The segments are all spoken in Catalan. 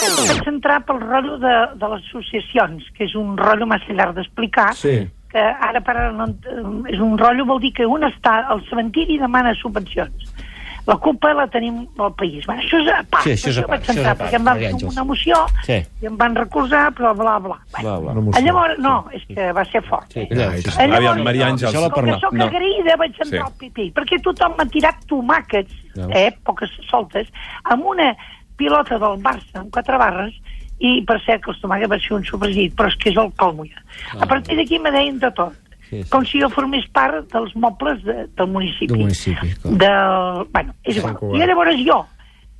vaig entrar pel rotllo de, de les associacions, que és un rotllo massa llarg d'explicar, Sí. que ara per ara no, en- és un rotllo, vol dir que un està al cementiri i demana subvencions. La culpa la tenim al país. Bé, això és a part. Sí, això és a per part, vaig això és a entrar, part, perquè em van Maria fer Àngels. una moció Sí. i em van recolzar, però bla, bla. Bé, Bla, bla. Una moció. Llavors, no, és que va ser fort. Sí. Ja, i tant. Llavors, Aviam, Maria Àngels, Això la Com que sóc no. agraïda, vaig entrar Sí. al pipí, perquè tothom m'ha tirat tomàquets, eh, poques soltes, amb una pilota del Barça amb quatre barres, i per cert que els tomàquets va ser un supergit, però és que és el còlmuia. Ah. A partir d'aquí me deien de tot. Sí, sí. Com si jo formés part dels mobles de, del municipi. Del municipi, clar. Del... Bueno, és igual. Cugat. I llavors jo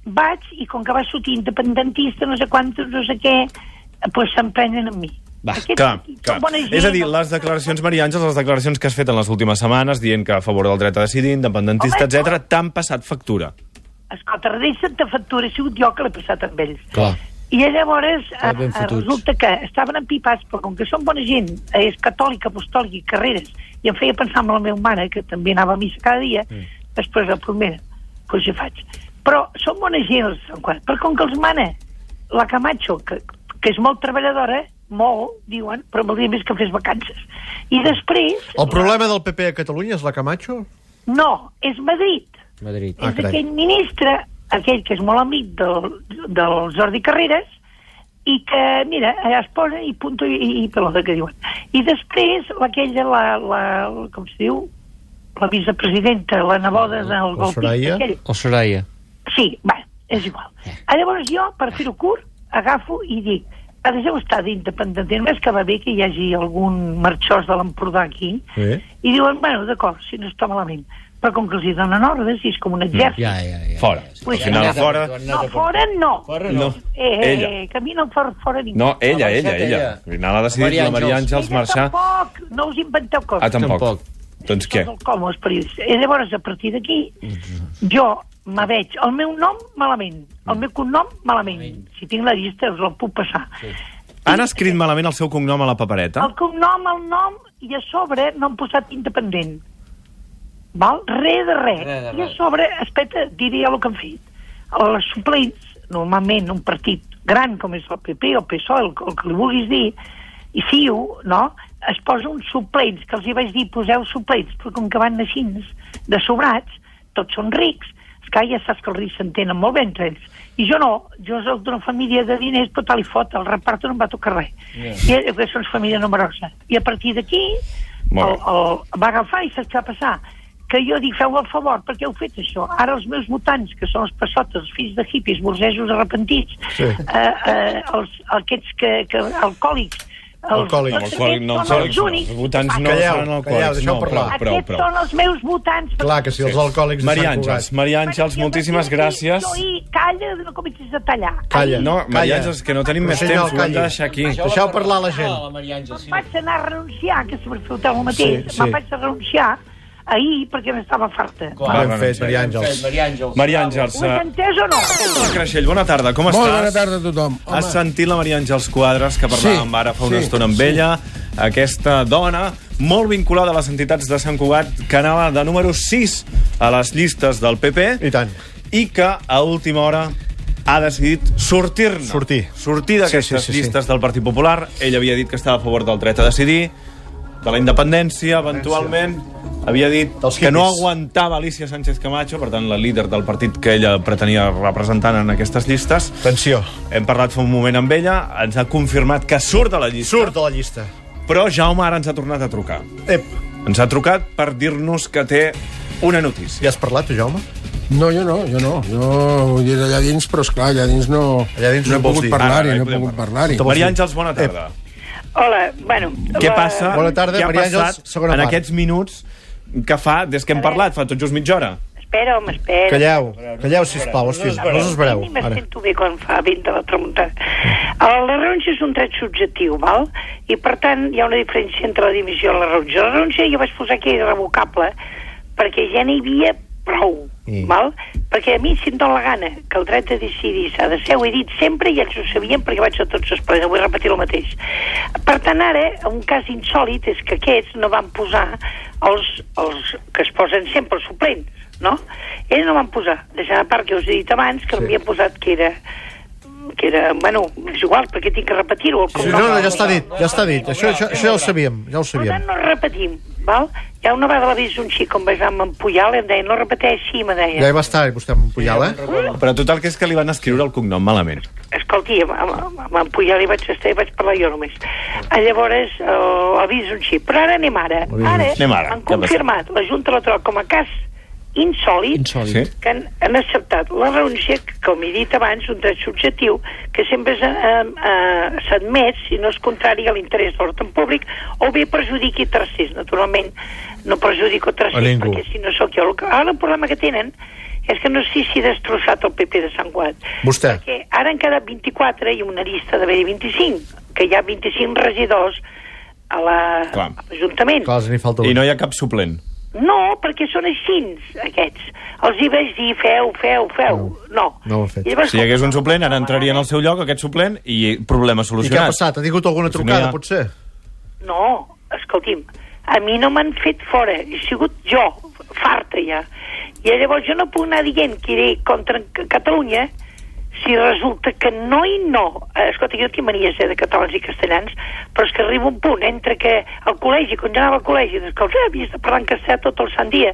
vaig, i com que va sortir independentista, no sé quantos, no sé què, doncs pues s'emprenen amb mi. Va, Aquests Clar, aquí són clar. bona gent, Ah, És a dir, els les declaracions, Maria Àngels, les declaracions que has fet en les últimes setmanes dient que a favor del dret a decidir, independentista, Home, etc, t'han passat factura. Escolta, deixa't de factura, he sigut jo que l'he passat amb ells. Clar. I llavors eh, ben eh, fotuts. resulta que estaven empipats, però com que són bona gent, eh, és catòlica, apostòlica i carreres, i em feia pensar en la meva mare, que també anava a missa cada dia, Mm. després la primera, doncs hi faig. Però són bona gent, els Sant Quart, però com que els mana la Camacho, que, que és molt treballadora, molt, diuen, però voldria més que fes vacances. I després, El problema del PP a Catalunya és la Camacho? no, és Madrid. Madrid. Ah, és carai. aquell ministre, aquell que és molt amic del, del Jordi Carreras, i que, mira, allà es posa i punto i, i pelota, que diuen. I després, aquella, la, la, com se diu? La vicepresidenta, la neboda del Soraya? Eh. golpista. aquell. O Soraya. Sí, va, és igual. Ah, Llavors jo, per fer-ho curt, agafo i dic a deixeu estar d'independent, més que va bé que hi hagi algun marxós de l'Empordà aquí, Sí. i diuen, bueno, d'acord, si no està malament, però com que els hi donen ordres i és Mm, com un exèrcit, Ja, ja, ja. Fora. Ui, Al final, ja. fora. no, fora no. Fora No, Eh, ella. eh, camina fora, fora ningú. No, ella, Ha marxat ella, ella. ella. Al final ha decidit Maria la Maria Àngels. Àngels marxar. Tampoc, no us inventeu coses. Ah, tampoc. Tampoc. Doncs què? Són Com els periodistes. I Eh, llavors, a partir d'aquí, jo me veig el meu nom malament, el meu cognom malament. Si tinc la llista, us la puc passar. Han escrit malament el seu cognom a la papereta? El cognom, el nom, i a sobre no han posat independent. Val? Re de re. Re de I a re. sobre, espeta, diria el que han fet. A les suplents, normalment un partit gran com és el PP o el PSOE, el, el que li vulguis dir, i CIU, no?, es posa uns suplents, que els hi vaig dir, poseu suplents, però com que van així, de sobrats, tots són rics, és que ja saps que els rics s'entenen molt bé entre ells. I jo no, jo soc d'una família de diners, però tal i fot, el reparto no em va tocar res. Yeah. I que són família numerosa. I a partir d'aquí, el, Molt bé. el, va agafar i saps què va passar? Que jo dic, feu el favor, per què heu fet això? Ara els meus votants, que són els passotes, els fills de hippies, burgesos arrepentits, Sí. eh, eh, els, aquests que, que alcohòlics, els, Alcohòlics. tots Alcohòlic, aquests no, són alcohòlics els no. únics... Els votants no Calleu, seran calleu, alcohòlics. deixeu No, prou, parlar. prou, Aquests prou. són els meus votants. Clar que sí, els alcohòlics de Maria Sant Cugat. Àngels, Maria Àngels, Perquè moltíssimes jo vaig dir, gràcies. Jo, i calla, no comencis a tallar. Calla. No, Calla. Maria Àngels, que no tenim més Senyor, temps, ho hem de calla. deixar aquí. Deixeu parlar la gent. La Maria Àngels, Em sí. vaig anar a renunciar, que si per fer el mateix, Sí, sí. sí, me'n vaig a renunciar ahir perquè n'estava farta. Clar. Ben fet, Maria Àngels. Maria Àngels. Maria Àngels, Ho has eh, entès o no? Creixell, bona tarda, com estàs? Molt bona tarda a tothom. Has sentit la Maria Àngels Quadres, que parlàvem Sí, ara fa una sí, estona amb ella, aquesta dona molt vinculada a les entitats de Sant Cugat, que anava de número 6 a les llistes del PP I tant. i que a última hora ha decidit sortir-ne. Sortir. Sortir d'aquestes Sí, sí, sí, sí. llistes del Partit Popular. Ell havia dit que estava a favor del dret a decidir, de la independència, eventualment. Havia dit Dels que no hippies. aguantava Alicia Sánchez Camacho, per tant, la líder del partit que ella pretenia representar en aquestes llistes. Atenció. Hem parlat fa un moment amb ella, ens ha confirmat que surt de la llista, Surt de la llista. però Jaume ara ens ha tornat a trucar. Ep, Ens ha trucat per dir-nos que té una notícia. ja has parlat, tu, Jaume? No, jo no, jo no. Jo hi era allà dins, però esclar, allà dins no, Allà dins no no he vols pogut dir. Ah, Ara, parlar-hi, ara no he podem pogut parlar. parlar-hi. Eh, Maria Àngels, bona tarda. Hola, bueno... Què passa? Bona tarda, Què ha Maria Àngels, passat segona en part. Eh? aquests minuts que fa des que hem parlat, fa tot just mitja hora? Espera, home, espera. Calleu, calleu, sisplau, els fills. No us espereu. Ni me Ara. sento bé quan fa vent de la tramuntada. El- La renúncia és un dret subjectiu, val? I, per tant, hi ha una diferència entre la dimissió i la renúncia. La renúncia jo vaig posar que era irrevocable, perquè ja n'hi havia prou, Mm. val? Perquè a mi, si em dóna la gana que el dret de decidir s'ha de ser, ho he dit sempre i ells ho sabien perquè vaig a tots els plens, vull repetir el mateix. Per tant, ara, un cas insòlid és que aquests no van posar els, els que es posen sempre, els suplents, no? Ells no van posar, deixant a part que us he dit abans, que sí. m'havien posat que era que era... Bueno, és igual, perquè tinc que repetir-ho. el Sí, cognom. no, no, ja està dit, ja està dit. Això, això, això ja ho sabíem, ja ho Per sabíem. tant, no repetim, val? Ja una vegada va dir un xic com vaig anar amb Puyal i em deia, no repeteixi, me deia. Ja hi va estar, vostè amb Puyal, eh? Però total que és que li van escriure el cognom malament. escolti, amb, amb, amb en Pujol hi vaig estar i vaig parlar jo només. Ah, Llavors, eh, avís un xip. Però ara anem ara. Ara, Anem ara, han ja confirmat, la Junta electoral com a cas insòlid, Insòlid. Sí? que han, han acceptat la renúncia, que, com he dit abans, un dret subjectiu que sempre s'ha- eh, eh, s'admet si no és contrari a l'interès de l'ordre públic o bé perjudiqui tercers. Naturalment, no perjudico A tercers, ningú. perquè si no sóc jo... el que- Ara el problema que tenen és que no sé si he destrossat el PP de Sant Guat. Vostè. Perquè ara han quedat 24 i una llista d'haver-hi 25, que hi ha 25 regidors a la- Clar. a l'Ajuntament. Clar, n'hi falta un. I no hi ha cap suplent. No, perquè són així, aquests. Els hi vaig dir, feu, feu, feu. No. no ho han fet. I llavors, Si hi hagués un suplent, ara entraria en el seu lloc aquest suplent i problema I què ha solucionat. passat? Ha tingut alguna Si no hi ha- trucada, potser? No, escolti'm, a mi no m'han fet fora, he sigut jo, farta ja. I llavors jo no puc anar dient que iré contra C- Catalunya si resulta que no i no... Eh, Escolta, jo tinc manies eh, de catalans i castellans, però és que arriba un punt entre que al col·legi, quan jo anava al col·legi, doncs, que eh, havies de parlar en castellà tot el sant dia,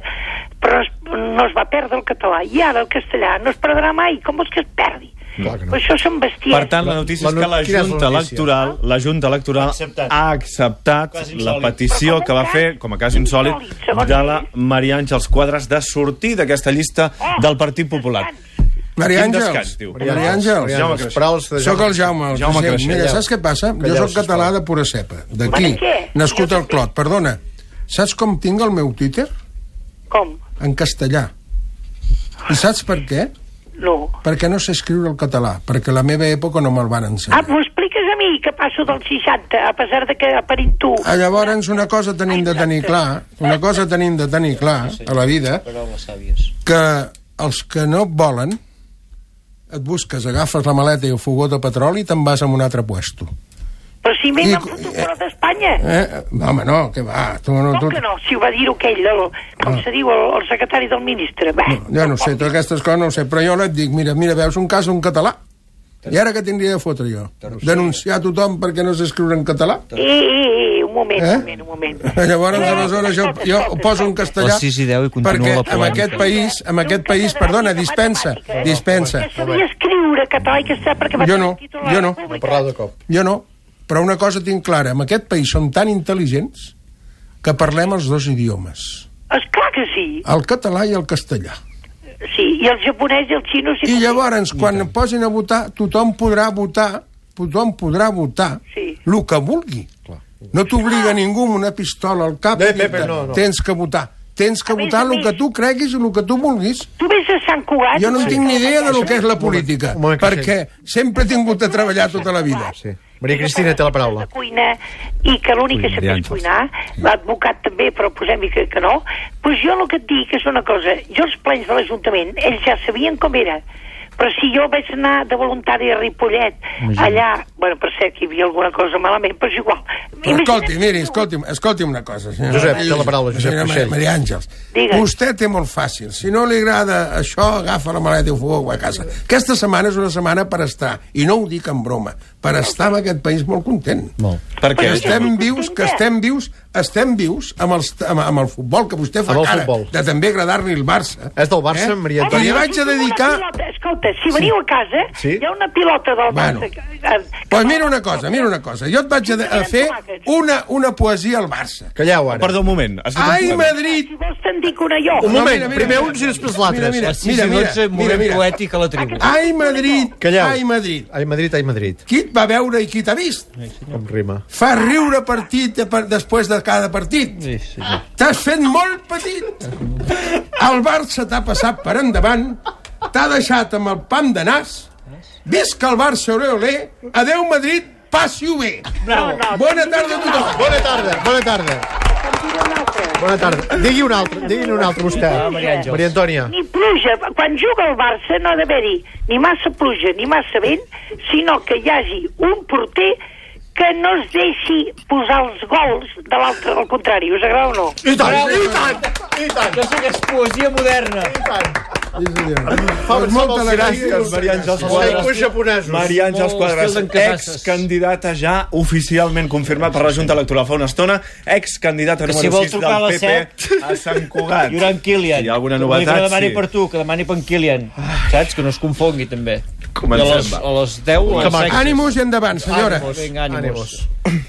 però es, no es va perdre el català. I ara el castellà no es perdrà mai. Com vols que es perdi? Clar que no. Però això són besties. Per tant, la notícia La és que la no- quina és la Junta notícia? Electoral, la Junta Electoral Acceptat. ha acceptat Cas la insòlid. petició Però com que va és fer, cas? com a cas insòlid, Insòlid, segons de la ells. Maria Àngels Quadres de sortir d'aquesta llista Oh, del Partit Popular. Maria Quin Àngels. descans, diu. Maria Àngels. Maria Àngels. Paraules de Sóc el Jaume, el Jaume president. Creixell. Mira, saps què passa? Calleu, Jo sóc sisplau. català de pura cepa, d'aquí, Bueno, què? nascut Jo al també. Clot. Perdona, saps com tinc el meu Twitter? Com? En castellà. I saps per què? No. Perquè no sé escriure el català, perquè a la meva època no me'l van Ah, ensenyar. m'ho expliques a mi, que passo dels 60, a pesar de que aparint tu. Ah, Llavors, una cosa tenim de tenir clar, una cosa tenim de tenir clar a la vida, Paraules sàvies. que els que no et volen, et busques, agafes la maleta i el fogó de petroli i te'n vas a un altre puesto. Però si m'he i- fotut fora d'Espanya. Eh? Home, no, que va, tu no... Com Tu... que no? Si ho va dir-ho aquell, el, com se diu, el, el secretari del ministre. Bé, Jo Ah. no ho sé, totes aquestes coses no ho sé, però jo et dic, mira, mira, veus un cas d'un català, i ara què tindria de fotre jo? Denunciar a tothom perquè no sé escriure en català? Eh, eh, eh, un moment, Eh? un moment, un moment. Llavors, aleshores, jo, jo ho poso en castellà Les sis i deu i continua perquè la en polèmica. aquest país, en aquest país, perdona, dispensa, dispensa. eh? Que sabia escriure català i castellà perquè va Jo tenir no, el títol de la jo no. República. No parlau de cop. Jo no, però una cosa tinc clara, en aquest país som tan intel·ligents que parlem els dos idiomes, Esclar que sí. el català i el castellà. Sí, i el japonès i el xino... Sí, I llavors, quan em posin a votar, tothom podrà votar, tothom podrà votar Sí. el que vulgui. No t'obliga ningú amb una pistola al cap No, a dir-te, Pepe, no, no. tens que votar. Tens que A més, votar a el que més. tu creguis i el que tu vulguis. Tu vés a Sant Cugat... Jo no en tinc ni idea de lo que és la política, un moment, que perquè sempre he tingut de treballar tota la vida. Sí. Maria Cristina té la paraula. de cuina i que l'únic que sap és cuinar, l'advocat també, però posem-hi que, que no, doncs jo el que et dic és una cosa, jo els plens de l'Ajuntament, ells ja sabien com era, però si jo vaig anar de voluntari a Ripollet, allà, bueno, per cert que hi havia alguna cosa malament, però és igual. Però Imagina't escolti, miri, tu. escolti'm, escolti'm una cosa, senyora. Josep, Maria- té la paraula, Josep senyora Maria, Creixell. Maria Àngels, Digues. vostè té molt fàcil. Si no li agrada això, agafa la maleta i ho fuga a casa. Aquesta setmana és una setmana per estar, i no ho dic en broma, per estar en aquest país molt content. Molt. Per què? Que Però és estem Estic vius, que contenta. estem vius, estem vius amb, els, amb, amb el futbol, que vostè fa Amb el cara futbol. de també agradar-li el Barça. Eh? És del Barça, Maria Ara, Però li Antònia? vaig a si dedicar... una Pilota, escolta, si veniu a casa, Sí. hi ha una pilota del Bueno. Barça... que- eh, Pues mira una cosa, mira una cosa. Jo et vaig a, a fer una, una poesia al Barça. Calleu, ara. Perdó un moment. Has dit un Ai, problema. Madrid! Si vols te'n dic una jo. Un moment, mira, mira, primer mira. uns i després l'altre. Mira, mira, Les sis i dotze, moment poètic a la tribu. Ai, Madrid! Calleu. Ai, Madrid! Ai, Madrid, ai, Madrid. Qui et va veure i qui t'ha vist? Com rima. Fa riure partit de per, després de cada partit. Sí, sí. T'has fet molt petit. El Barça t'ha passat per endavant, t'ha deixat amb el pam de nas. Visca el Barça, ole, ole. Adéu, Madrid, passi-ho bé. Bravo. No, no, Bona tarda a tothom. Bona tarda, bona tarda. Bona tarda. Digui un altre, digui un altre vostè. Maria Antònia. ni pluja, quan juga el Barça no ha d'haver-hi ni massa pluja ni massa vent, sinó que hi hagi un porter que no es deixi posar els gols de l'altre, al contrari, us agrada o no? I tant, i tant, i tant. Això és poesia moderna. i tant. Sí, senyor. Fa Doncs moltes pensar en els grisos. gràcies, Maria Àngels Els Quadras. haikus japonesos. Maria Àngels Molt Quadras, estil d'en Casasses. excandidata ja oficialment confirmat per la Junta Electoral fa una estona, excandidata Que número si vol 6 trucar a del les PP a Sant Cugat. Hi haurà en Kilian. Si hi ha alguna Que no novetat, demani sí. per tu, que demani per en Kilian. Saps? Que no es confongui, també. I Comencem, A les, a les 10 a maco. les Ànimos i endavant, senyores. Ànimos. Vinga, ànimos. Ànimos.